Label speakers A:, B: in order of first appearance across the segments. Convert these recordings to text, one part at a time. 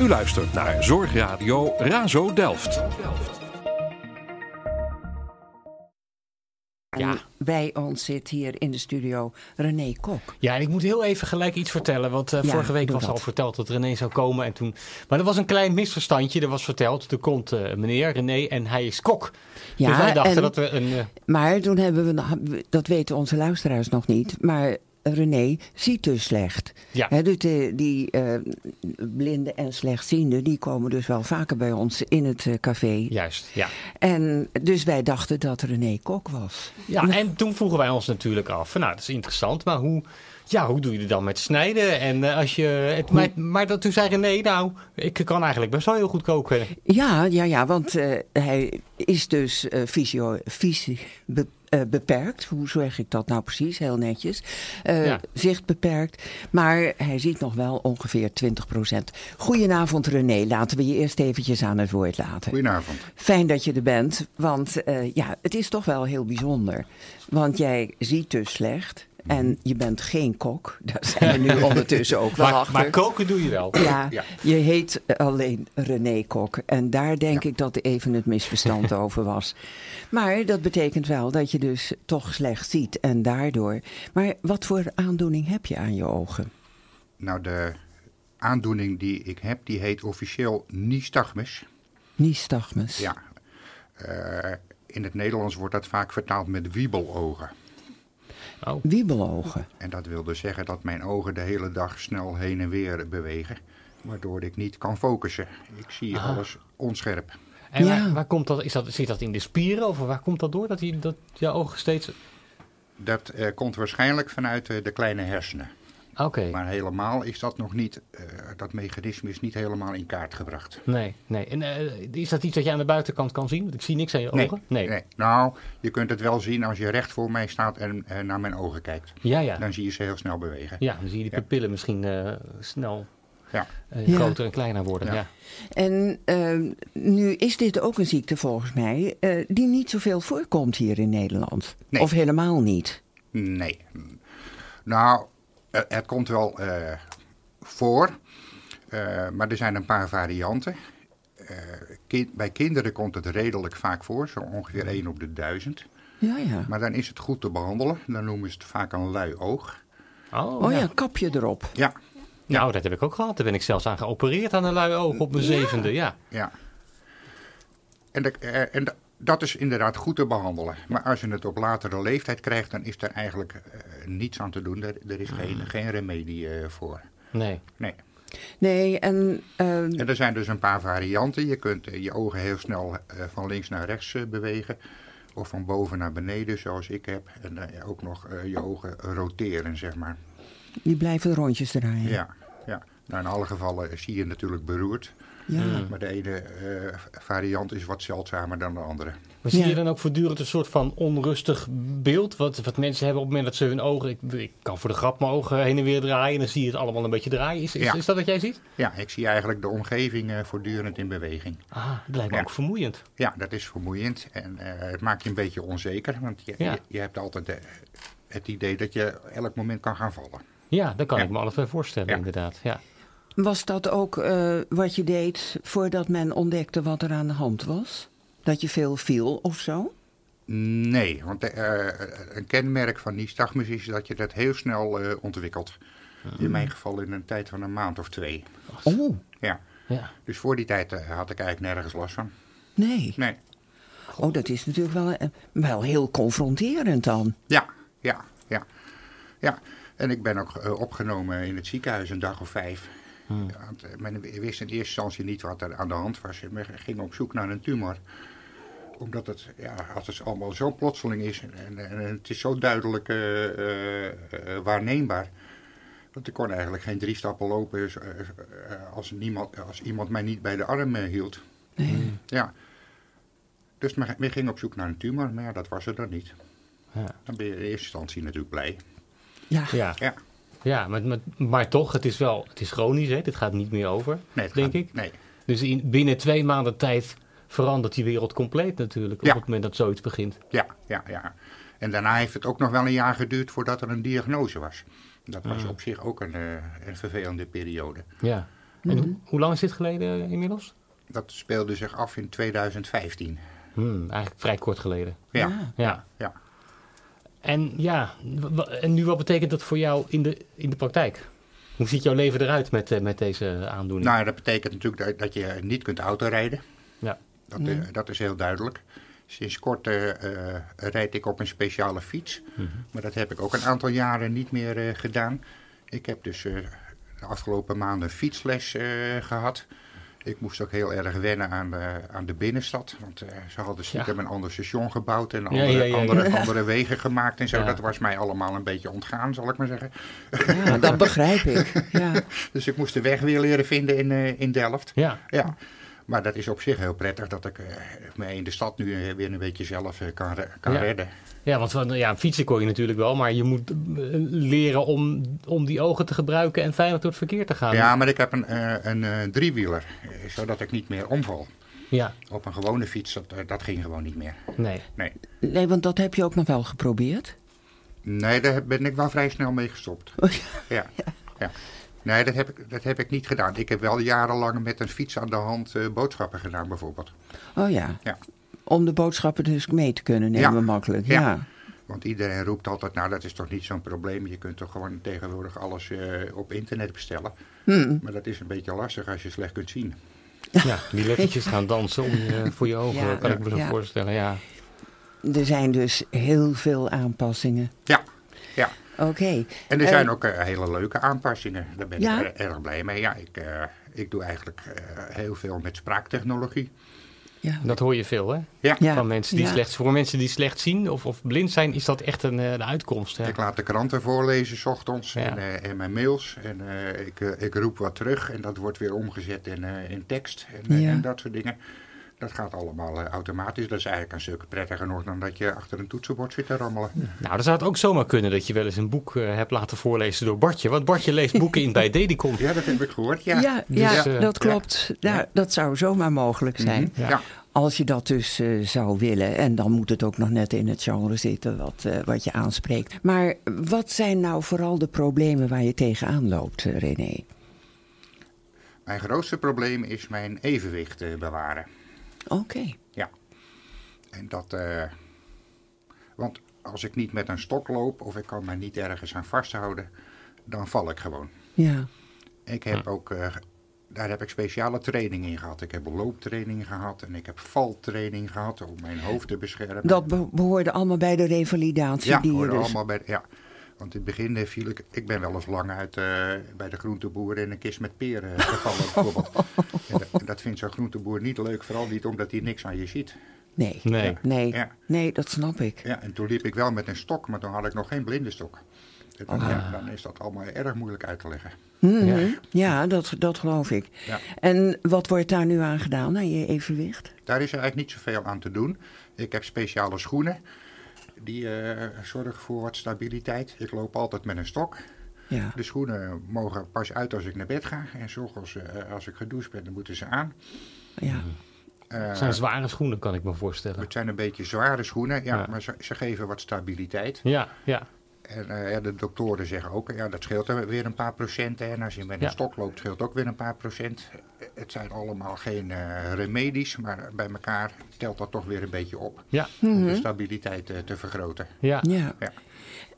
A: U luistert naar Zorgradio Razo Delft.
B: Ja. Bij ons zit hier in de studio René Kok.
C: Ja, en ik moet heel even gelijk iets vertellen. Want eh,
B: Ja,
C: vorige week
B: doe
C: was
B: dat.
C: al verteld dat René zou komen. En toen... Maar er was een klein misverstandje. Er was verteld, er komt eh, meneer René en hij is kok.
B: Ja,
C: dus wij dachten
B: en-
C: dat we een... eh,
B: Maar toen hebben we, dat weten onze luisteraars nog niet, maar René ziet dus slecht.
C: Ja.
B: Hè, dus de- die eh, blinden en slechtzienden, die komen dus wel vaker bij ons in het eh, café.
C: Juist, ja.
B: En dus wij dachten dat René Kok was.
C: ja. En toen vroegen wij ons natuurlijk af. van, Nou, dat is interessant, maar hoe... Ja, hoe doe je het dan met snijden? En eh, als je... Het, maar, maar dat toen zei René, nou, ik kan eigenlijk best wel heel goed koken.
B: Ja, ja, ja, want eh, hij is dus eh visio, visie be- eh, beperkt. Hoe zeg ik dat nou precies? Heel netjes. Eh,
C: Ja.
B: Zicht beperkt. Maar hij ziet nog wel ongeveer 20 Goedenavond René, laten we je eerst eventjes aan het woord laten.
D: Goedenavond.
B: Fijn dat je er bent, want eh, ja, het is toch wel heel bijzonder. Want jij ziet dus slecht en je bent geen kok. Daar zijn we nu ondertussen ook wel
C: Maar,
B: achter.
C: maar koken doe je wel.
B: Ja, je heet eh, alleen René Kok. En daar denk ik dat even het misverstand over was. Maar dat betekent wel dat je dus toch slecht ziet en daardoor. Maar wat voor aandoening heb je aan je ogen?
D: Nou, de aandoening die ik heb, die heet officieel nystagmus.
B: Nystagmus.
D: Ja. Eh, in het Nederlands wordt dat vaak vertaald met wiebelogen.
C: Oh.
B: Wiebelogen.
D: En dat wil dus zeggen dat mijn ogen de hele dag snel heen en weer bewegen. Waardoor ik niet kan focussen. Ik zie alles onscherp.
C: En
B: Ja.
C: waar, waar komt dat? Is dat? Zit dat in de spieren? Of waar komt dat door? Dat, die, dat jouw ogen steeds...
D: Dat eh, komt waarschijnlijk vanuit eh, de kleine hersenen.
C: Oké.
D: Maar helemaal is dat nog niet, eh, dat mechanisme is niet helemaal in kaart gebracht.
C: Nee, nee. En eh, is dat iets dat je aan de buitenkant kan zien? Want ik zie niks aan je ogen.
D: Nou, je kunt het wel zien als je recht voor mij staat en eh, naar mijn ogen kijkt.
C: Ja, ja.
D: Dan zie je ze heel snel bewegen.
C: Ja, dan zie je die
D: Ja.
C: pupillen misschien eh, snel
D: Ja.
C: eh,
B: Ja.
C: groter en kleiner worden. Ja.
D: Ja.
B: En ehm, nu is dit ook een ziekte volgens mij eh, die niet zoveel voorkomt hier in Nederland.
D: Nee.
B: Of helemaal niet.
D: Nee. Nou, eh, het komt wel eh, voor, eh, maar er zijn een paar varianten. Eh, kind- bij kinderen komt het redelijk vaak voor, zo ongeveer
C: Mhm.
D: 1 op de 1000.
B: Ja, ja.
D: Maar dan is het goed te behandelen. Dan noemen ze het vaak een lui oog.
C: Oh,
B: Oh
C: ja.
B: ja, kapje erop.
D: Ja,
C: Nou, dat heb ik ook gehad. Daar ben ik zelfs aan geopereerd aan een lui oog op mijn zevende. Ja.
D: ja. En, dat- eh, en dat- dat is inderdaad goed te behandelen. Maar als je het op latere leeftijd krijgt, dan is er eigenlijk eh, niets aan te doen. Er, er is
C: Mhm.
D: geen, geen remedie eh, voor.
C: Nee.
D: Nee.
B: Nee, en ehm,
D: En er zijn dus een paar varianten. Je kunt eh, je ogen heel snel eh, van links naar rechts eh, bewegen. Of van boven naar beneden, zoals ik heb. En eh, ook nog eh, je ogen roteren, zeg maar.
B: die blijven rondjes draaien.
D: Ja, ja. Nou, in alle gevallen zie je natuurlijk beroerd.
B: Ja.
D: Maar de ene eh, variant is wat zeldzamer dan de andere.
C: Maar zie
B: Ja.
C: je dan ook voortdurend een soort van onrustig beeld? Wat, wat mensen hebben op het moment dat ze hun ogen... Ik, ik kan voor de grap mijn ogen heen en weer draaien. En dan zie je het allemaal een beetje draaien. Is, is,
D: Ja.
C: is dat wat jij ziet?
D: Ja, ik zie eigenlijk de omgeving eh, voortdurend in beweging.
C: Ah, dat lijkt me
D: Ja.
C: ook vermoeiend.
D: Ja, dat is vermoeiend en eh, het maakt je een beetje onzeker. Want je,
C: Ja.
D: je, je hebt altijd eh, het idee dat je elk moment kan gaan vallen.
C: Ja, daar kan
D: Ja.
C: ik me alles bij voorstellen
D: Ja.
C: inderdaad. Ja.
B: Was dat ook eh, wat je deed voordat men ontdekte wat er aan de hand was? Dat je veel viel of zo?
D: Nee, want eh, een kenmerk van nystagmus is dat je dat heel snel eh, ontwikkelt. In mijn geval in een tijd van een maand of twee.
B: Oh,
D: Ja.
C: ja.
D: Dus voor die tijd eh, had ik eigenlijk nergens last van.
B: nee.
D: Nee.
B: Oh, dat is natuurlijk wel, eh, wel heel confronterend dan.
D: Ja, ja, ja. Ja, en ik ben ook eh, opgenomen in het ziekenhuis een dag of vijf. Want, eh, men wist in eerste instantie niet wat er aan de hand was. Men ging op zoek naar een tumor. Omdat het, ja, als het allemaal zo plotseling is en, en- en het is zo duidelijk eh, eh, eh, waarneembaar. Want ik kon eigenlijk geen drie stappen lopen dus, eh, eh, als, niemand, als iemand mij niet bij de arm eh, hield. Ja. Dus men, men ging op zoek naar een tumor, maar ja, dat was er dan niet.
C: Ja.
D: Dan ben je in eerste instantie natuurlijk blij.
B: Ja.
C: Ja,
D: Ja.
C: ja maar, maar, maar toch, het is wel het is chronisch, hè? dit gaat niet meer over,
D: Nee, het
C: denk
D: gaat-
C: ik.
D: Nee.
C: Dus in, binnen twee maanden tijd verandert die wereld compleet natuurlijk,
D: Ja.
C: op het moment dat zoiets begint.
D: Ja, ja, ja. En daarna heeft het ook nog wel een jaar geduurd
C: Ah.
D: voordat er een diagnose was. Dat was op zich ook een, eh, een vervelende periode.
C: Ja, En ho- hoe lang is dit geleden eh, inmiddels?
D: Dat speelde zich af in 2015.
C: Hmm, eigenlijk vrij kort geleden.
D: Ja,
B: Ah.
C: Ja.
D: ja.
C: En ja, w- w- en nu wat betekent dat voor jou in de, in de praktijk? Hoe ziet jouw leven eruit met, eh, met deze aandoening?
D: Nou, dat betekent natuurlijk dat, dat je niet kunt autorijden.
C: ja.
D: Dat, eh, dat is heel duidelijk. Sinds kort eh, eh, rijd ik op een speciale fiets.
C: Mhm.
D: Maar dat heb ik ook een aantal jaren niet meer eh, gedaan. Ik heb dus eh, de afgelopen maanden fietsles eh, gehad. Ik moest ook heel erg wennen aan de, aan de binnenstad. Want eh, ze hadden stiekem een ander station gebouwd en andere,
C: ja, ja, ja.
D: Andere, andere wegen gemaakt en zo.
C: Ja.
D: Dat was mij allemaal een beetje ontgaan, zal ik maar zeggen.
B: Ja, dat begrijp ik. Ja.
D: Dus ik moest de weg weer leren vinden in, eh, in Delft.
C: ja.
D: Ja, maar dat is op zich heel prettig dat ik eh, me in de stad nu eh, weer een beetje zelf eh, kan, re- kan
C: Ja.
D: redden.
C: Ja, want van- ja, fietsen kon je natuurlijk wel, maar je moet eh, leren om, om die ogen te gebruiken en veilig door het verkeer te gaan.
D: Ja, maar ik heb een, eh, een eh, driewieler, eh, zodat ik niet meer omval.
C: Ja,
D: Op een gewone fiets, dat, eh, dat ging gewoon niet meer.
C: nee.
D: Nee.
B: Nee, want dat heb je ook nog wel geprobeerd.
D: nee, daar ben ik wel vrij snel mee gestopt. Oh, Ja. ja. Nee, dat heb, ik, dat heb ik niet gedaan. Ik heb wel jarenlang met een fiets aan de hand eh, boodschappen gedaan, bijvoorbeeld.
B: Oh ja.
D: Ja.
B: Om de boodschappen dus mee te kunnen nemen
D: Ja.
B: makkelijk.
D: Ja.
B: Ja.
D: Want iedereen roept altijd, nou dat is toch niet zo'n probleem. Je kunt toch gewoon tegenwoordig alles eh, op internet bestellen.
B: Hmm.
D: Maar dat is een beetje lastig als je slecht kunt zien.
C: Ja, die lettertjes gaan dansen om je, voor je ogen,
B: Ja.
C: kan ik me zo
B: Ja.
C: voorstellen. Ja.
B: Er zijn dus heel veel aanpassingen.
D: Ja, ja.
B: Oké.
D: En er
B: Eh,
D: zijn ook eh, hele leuke aanpassingen. Daar ben
B: Ja?
D: ik er- erg blij mee. Ja, ik, eh, ik doe eigenlijk eh, heel veel met spraaktechnologie.
B: Ja.
C: Dat hoor je veel, hè?
D: Ja.
B: Ja.
C: Van mensen die
B: Ja.
C: slecht, voor mensen die slecht zien of, of blind zijn, is dat echt een, eh, een uitkomst. Hè?
D: Ik laat de kranten voorlezen s ochtends
C: Ja.
D: en, eh, en mijn mails. En eh, ik, eh, ik roep wat terug en dat wordt weer omgezet in, eh, in tekst en, eh,
B: Ja.
D: en dat soort dingen. Dat gaat allemaal eh, automatisch. Dat is eigenlijk een stuk prettiger nog dan dat je achter een toetsenbord zit te rammelen.
C: Nou, dan zou het ook zomaar kunnen dat je wel eens een boek eh, hebt laten voorlezen door Bartje. Want Bartje leest boeken in bij Dedicon.
D: Ja, dat heb ik gehoord. Ja,
B: Ja, ja,
C: dus, eh,
B: dat klopt. Ja, Dat zou zomaar mogelijk zijn.
C: Ja.
D: Mhm. Ja.
B: Als je dat dus eh, zou willen. En dan moet het ook nog net in het genre zitten wat, eh, wat je aanspreekt. Maar wat zijn nou vooral de problemen waar je tegenaan loopt, eh, René?
D: Mijn grootste probleem is mijn evenwicht eh, bewaren.
B: Oké.
D: Ja. En dat. eh, want als ik niet met een stok loop of ik kan me niet ergens aan vasthouden, dan val ik gewoon.
B: Ja.
D: Ik heb ook. eh, daar heb ik speciale training in gehad. Ik heb looptraining gehad en ik heb valtraining gehad om mijn hoofd te beschermen.
B: Dat be- behoorde allemaal bij de revalidatie
D: ja,
B: die je
D: hoorde
B: dus...
D: allemaal bij. Ja. Want in het begin eh, viel ik. Ik ben wel eens lang uit eh, bij de groenteboer in een kist met peren eh, gevallen, bijvoorbeeld. En dat, en dat vindt zo'n groenteboer niet leuk, vooral niet omdat hij niks aan je ziet.
B: Nee. Nee.
C: Nee.
B: Nee.
D: Ja.
B: dat snap ik.
D: Ja, en toen liep ik wel met een stok, maar toen had ik nog geen blinde stok. En Dan,
B: Ah.
D: ja, dan is dat allemaal erg moeilijk uit te leggen.
B: Mhm. Ja, dat, dat geloof ik.
D: Ja.
B: En wat wordt daar nu aan gedaan, aan je evenwicht?
D: Daar is eigenlijk niet zoveel aan te doen. Ik heb speciale schoenen. Die eh, zorgen voor wat stabiliteit. Ik loop altijd met een stok.
B: Ja.
D: De schoenen mogen pas uit als ik naar bed ga. En zorgens eh, als ik gedoucht ben, dan moeten ze aan.
B: ja.
D: Eh,
C: Het zijn zware schoenen, kan ik me voorstellen.
D: het zijn een beetje zware schoenen, ja,
C: Ja.
D: maar ze, ze geven wat stabiliteit.
C: Ja, ja.
D: En eh, ja, de doktoren zeggen ook, ja, dat scheelt er weer een paar procent. hè. En als je met een
C: Ja.
D: stok loopt, scheelt ook weer een paar procent. Eh, Het zijn allemaal geen eh, remedies, maar bij elkaar telt dat toch weer een beetje op.
C: Ja,
D: Om de stabiliteit eh, te vergroten.
C: ja.
B: ja.
D: Ja.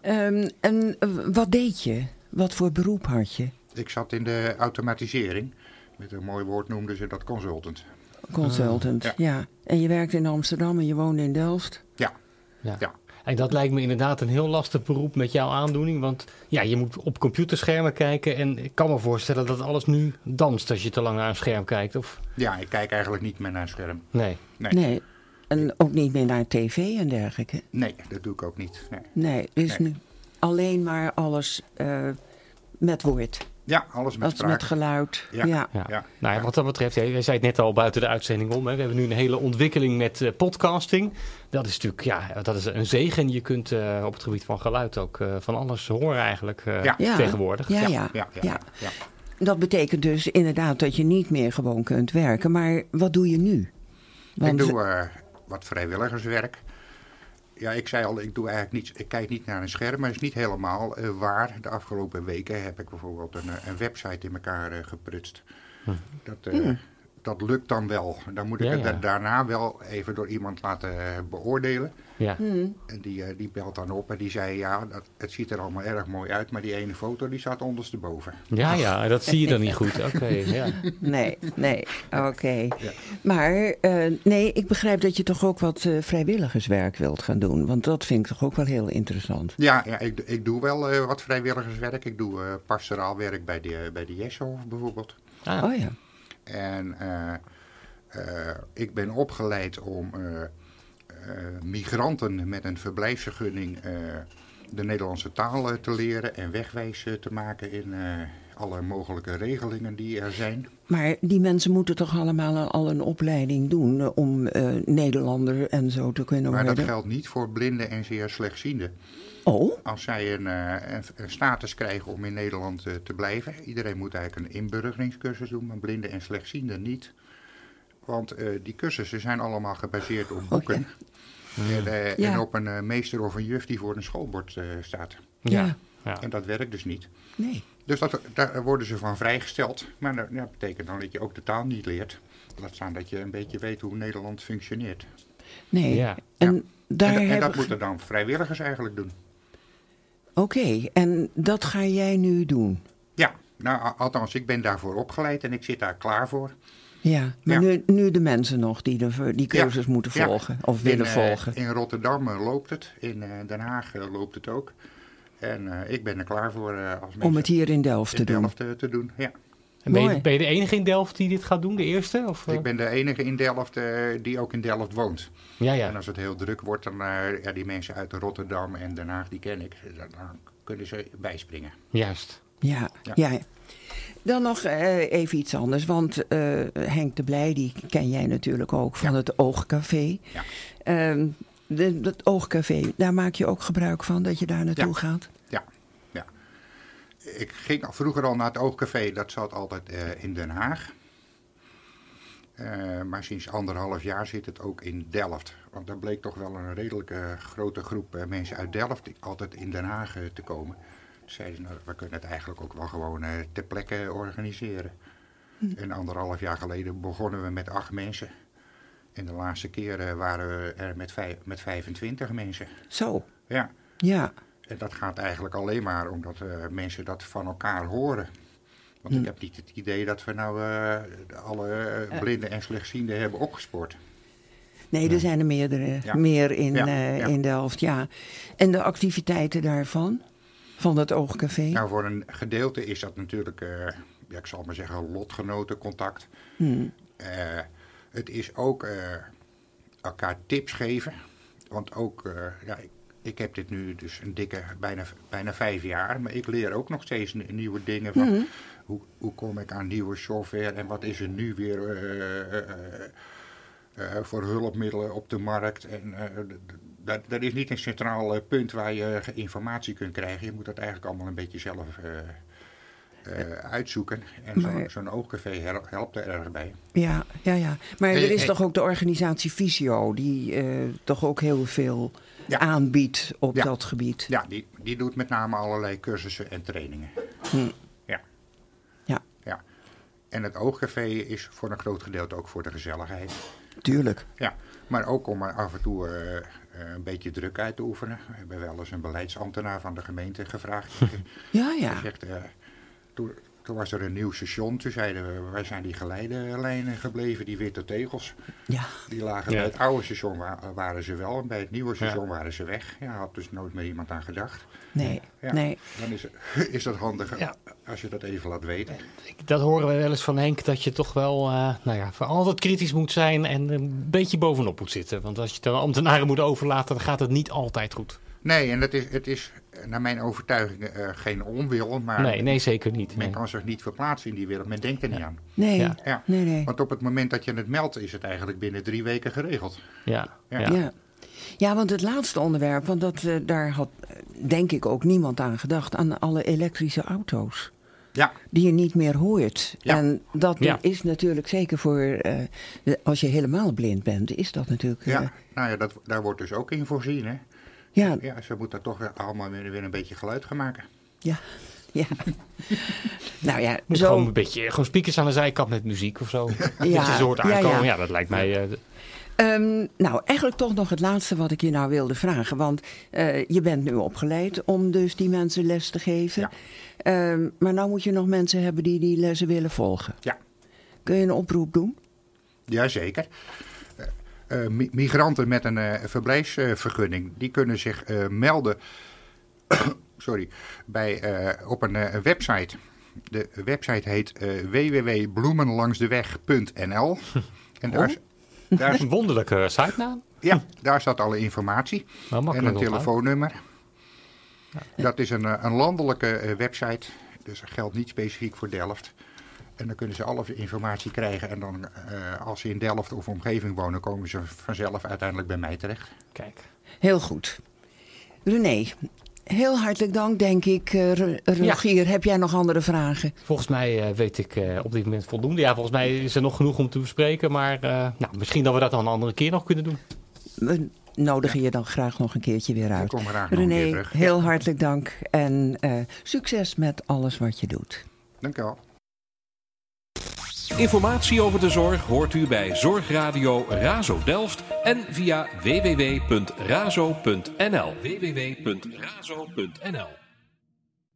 B: Ehm, en eh, wat deed je? Wat voor beroep had je?
D: Ik zat in de automatisering. Met een mooi woord noemden ze dat consultant.
B: Consultant,
D: Ah,
B: ja. En je werkte in Amsterdam en je woonde in Delft.
D: Ja,
C: ja.
D: ja.
C: En dat lijkt me inderdaad een heel lastig beroep met jouw aandoening. Want ja, je moet op computerschermen kijken. En ik kan me voorstellen dat alles nu danst als je te lang naar een scherm kijkt. Of
D: ja, ik kijk eigenlijk niet meer naar een scherm.
C: nee.
D: Nee.
B: Nee. En ook niet meer naar tv en dergelijke.
D: Nee, dat doe ik ook niet. Nee.
B: Nee, dus
D: Nee.
B: nu alleen maar alles eh, met woord.
D: Ja, alles met
B: Alles
D: spraak.
B: met geluid. Ja.
D: Ja.
B: Ja.
C: Ja.
D: Ja.
C: Nou ja, wat dat betreft, jij jij zei het net al buiten de uitzending om. Hè. We hebben nu een hele ontwikkeling met eh, podcasting. Dat is natuurlijk ja, dat is een zegen. Je kunt eh, op het gebied van geluid ook eh, van alles horen eigenlijk eh,
D: Ja.
C: tegenwoordig.
B: Ja, ja.
D: Ja, ja,
B: ja.
D: ja. ja.
B: Dat betekent dus inderdaad dat je niet meer gewoon kunt werken. Maar wat doe je nu?
D: ik doe eh, wat vrijwilligerswerk. Ja, ik zei al, ik doe eigenlijk niets. Ik kijk niet naar een scherm, maar dat is niet helemaal eh, waar. De afgelopen weken heb ik bijvoorbeeld een, eh, een website in elkaar eh, geprutst. Dat, eh, dat lukt dan wel. Dan moet ik
C: Ja,
D: het
C: ja.
D: da- daarna wel even door iemand laten eh, beoordelen.
C: Ja.
D: En die, eh, die belt dan op en die zei, ja, dat, het ziet er allemaal erg mooi uit, maar die ene foto die staat ondersteboven.
C: ja, ja, dat zie je dan niet goed. Oké, ja.
B: Nee, nee, oké. Maar eh, nee, ik begrijp dat je toch ook wat eh, vrijwilligerswerk wilt gaan doen. Want dat vind ik toch ook wel heel interessant.
D: Ja, ja ik, ik doe wel eh, wat vrijwilligerswerk. Ik doe eh, pastoraal werk bij de, bij de Jeshof bijvoorbeeld.
C: Ah.
B: Oh ja.
D: En eh, eh, ik ben opgeleid om eh, eh, migranten met een verblijfsvergunning eh, de Nederlandse taal eh, te leren en wegwijs eh, te maken in eh, alle mogelijke regelingen die er zijn.
B: Maar die mensen moeten toch allemaal een- al een opleiding doen eh, om eh, Nederlander en zo te kunnen
D: Maar dat
B: worden?
D: geldt niet voor blinden en zeer slechtzienden.
B: Oh,
D: Als zij een, eh, een, een status krijgen om in Nederland eh, te blijven, iedereen moet eigenlijk een inburgeringscursus doen, maar blinden en slechtzienden niet. Want eh, die cursussen zijn allemaal gebaseerd op boeken. En, eh,
B: Oh, Ja.
D: en op een eh, meester of een juf die voor een schoolbord eh, staat.
B: Ja.
C: Ja. ja.
D: En dat werkt dus niet.
B: nee.
D: Dus dat, daar worden ze van vrijgesteld. Maar dat, dat betekent dan dat je ook de taal niet leert. Laat staan dat je een beetje weet hoe Nederland functioneert.
B: Nee.
C: Ja.
B: En
D: Ja.
B: daar
D: en, da- en
B: heb
D: dat
B: ik-
D: moeten dan vrijwilligers eigenlijk doen.
B: Oké, en dat ga jij nu doen?
D: Ja, nou, a- althans, ik ben daarvoor opgeleid en ik zit daar klaar voor.
B: Ja, maar
D: Ja.
B: Nu, nu de mensen nog die de, die cursus
D: Ja,
B: moeten
D: ja.
B: volgen of
D: In,
B: willen
D: eh,
B: volgen.
D: In Rotterdam eh, loopt het, in eh, Den Haag eh, loopt het ook. En eh, ik ben er klaar voor eh, als mensen
B: om het hier in Delft te
D: in
B: doen.
D: Delft eh, te doen. Ja.
C: En ben,
B: Mooi.
C: je, ben je de enige in Delft die dit gaat doen, de eerste? Of, eh?
D: dus Ik ben de enige in Delft eh, die ook in Delft woont.
C: Ja,
D: En
C: ja.
D: als het heel druk wordt, dan eh, ja, die mensen uit Rotterdam en Den Haag, die ken ik, dan, dan kunnen ze bijspringen.
C: Juist.
B: Ja,
D: Ja.
B: ja. Dan nog eh, even iets anders, want eh, Henk de Blij, die ken jij natuurlijk ook van het Oogcafé.
D: Ja.
B: Ehm, de- dat Oogcafé, daar maak je ook gebruik van dat je daar naartoe
D: Ja.
B: gaat?
D: Ja, ja. Ik ging al vroeger al naar het Oogcafé, dat zat altijd eh, in Den Haag. Eh, maar sinds anderhalf jaar zit het ook in Delft. Want daar bleek toch wel een redelijke grote groep eh, mensen uit Delft die altijd in Den Haag eh, te komen. Toen zeiden ze, nou, we kunnen het eigenlijk ook wel gewoon eh, ter plekke organiseren. En anderhalf jaar geleden begonnen we met acht mensen. En de laatste keer eh, waren we er met, vijf, met 25 mensen.
B: Zo,
D: Ja.
B: ja.
D: En dat gaat eigenlijk alleen maar omdat eh, mensen dat van elkaar horen. Want ik heb niet het idee dat we nou eh, alle eh, blinden en slechtzienden hebben opgespoord.
B: Nee, er zijn er meerdere,
D: Ja.
B: meer in,
D: Ja,
B: eh,
D: ja.
B: in Delft, ja. En de activiteiten daarvan, van het Oogcafé?
D: Nou, voor een gedeelte is dat natuurlijk, eh, ja, ik zal maar zeggen, lotgenotencontact. Eh, het is ook eh, elkaar tips geven. Want ook, eh, ja, ik, ik heb dit nu dus een dikke, bijna, bijna vijf jaar. Maar ik leer ook nog steeds n- nieuwe dingen. Van hoe, hoe kom ik aan nieuwe software en wat is er nu weer eh, eh, eh, eh, voor hulpmiddelen op de markt. En, eh, d- d- dat, dat is niet een centraal eh, punt waar je eh, informatie kunt krijgen. Je moet dat eigenlijk allemaal een beetje zelf eh, eh, uitzoeken. En zo-
B: Maar-
D: zo'n oogcafé hel- helpt er erg bij.
B: Ja, ja, ja. Maar
D: Hey,
B: er is
D: hey.
B: toch ook de organisatie Visio, die eh, toch ook heel veel
D: Ja.
B: aanbiedt op
D: Ja.
B: dat gebied.
D: Ja, die, die doet met name allerlei cursussen en trainingen. Ja,
B: Ja,
D: ja. En het oogcafé is voor een groot gedeelte ook voor de gezelligheid.
B: tuurlijk.
D: Ja, maar ook om er af en toe eh, eh, een beetje druk uit te oefenen. We hebben wel eens een beleidsambtenaar van de gemeente gevraagd.
B: Ja, ja.
D: Hij zegt, eh, toen, toen was er een nieuw station. Toen zeiden we, wij zijn die geleidelijnen gebleven, die witte tegels.
B: Ja,
D: Die lagen
C: Ja.
D: bij het oude station wa- waren ze wel en bij het nieuwe station waren ze weg. Ja, had dus nooit meer iemand aan gedacht.
B: nee,
D: Ja,
B: nee.
D: Dan is, is dat handig
C: Ja.
D: als je dat even laat weten.
C: Ik- Dat horen we wel eens van Henk, dat je toch wel eh, nou ja, voor altijd kritisch moet zijn en een beetje bovenop moet zitten. Want als je het aan ambtenaren moet overlaten, dan gaat het niet altijd goed.
D: Nee, en dat is, het is eh, naar mijn overtuiging eh, geen onwil, maar
C: Nee, nee zeker niet.
D: men
C: Nee.
D: kan zich niet verplaatsen in die wereld. Men denkt er niet aan.
B: Nee,
C: Ja.
D: Ja.
B: nee, nee.
D: Want op het moment dat je het meldt, is het eigenlijk binnen drie weken geregeld.
C: Ja, ja.
B: Ja. Ja. want het laatste onderwerp, want dat, eh, daar had eh, denk ik ook niemand aan gedacht, aan alle elektrische auto's.
D: Ja,
B: Die je niet meer hoort.
D: Ja.
B: En dat
C: Ja.
B: is natuurlijk zeker voor. eh, de- als je helemaal blind bent, is dat natuurlijk. eh,
D: ja. nou ja, dat, daar wordt dus ook in voorzien, hè.
B: ja,
D: Ja, ze moeten toch weer allemaal weer, weer een beetje geluid gaan maken.
B: ja. ja. nou ja,
C: Moet
B: zo,
C: gewoon een beetje gewoon speakers aan de zijkant met muziek of zo. Dat
B: Ja,
C: je zo hoort
B: ja, ja.
C: aankomen. Ja, dat lijkt mij... eh,
B: Ehm, nou, eigenlijk toch nog het laatste wat ik je nou wilde vragen. Want eh, je bent nu opgeleid om dus die mensen les te geven.
D: Ja.
B: Ehm, maar nou moet je nog mensen hebben die die lessen willen volgen.
D: Ja.
B: Kun je een oproep doen?
D: Jazeker. Eh, eh, mi- migranten met een eh, verblijfsvergunning, die kunnen zich eh, melden sorry, bij, eh, op een eh, website. De website heet eh, www.bloemenlangsdeweg.nl. En daar, is- daar, is-
C: een wonderlijke eh, sitenaam.
D: ja, daar staat alle informatie
C: Wel Nou, makkelijk
D: en een
C: onthouden.
D: telefoonnummer. Dat is een, eh, een landelijke eh, website, dus dat geldt niet specifiek voor Delft. En dan kunnen ze alle informatie krijgen. En dan, eh, als ze in Delft of omgeving wonen, komen ze vanzelf uiteindelijk bij mij terecht.
C: Kijk.
B: Heel goed. René, heel hartelijk dank, denk ik. Eh, Ro- Rogier, heb jij nog andere vragen?
C: Volgens mij eh, weet ik eh, op dit moment voldoende. Ja, volgens mij is er nog genoeg om te bespreken. Maar eh, nou, misschien dat we dat dan een andere keer nog kunnen doen.
B: We nodigen je dan graag nog een keertje weer uit.
D: kom graag nog een keer
B: René,
D: terug.
B: heel hartelijk dank. En eh, succes met alles wat je doet.
D: Dank u wel.
A: Informatie over de zorg hoort u bij Zorgradio Razo Delft en via www.razo.nl. www.razo.nl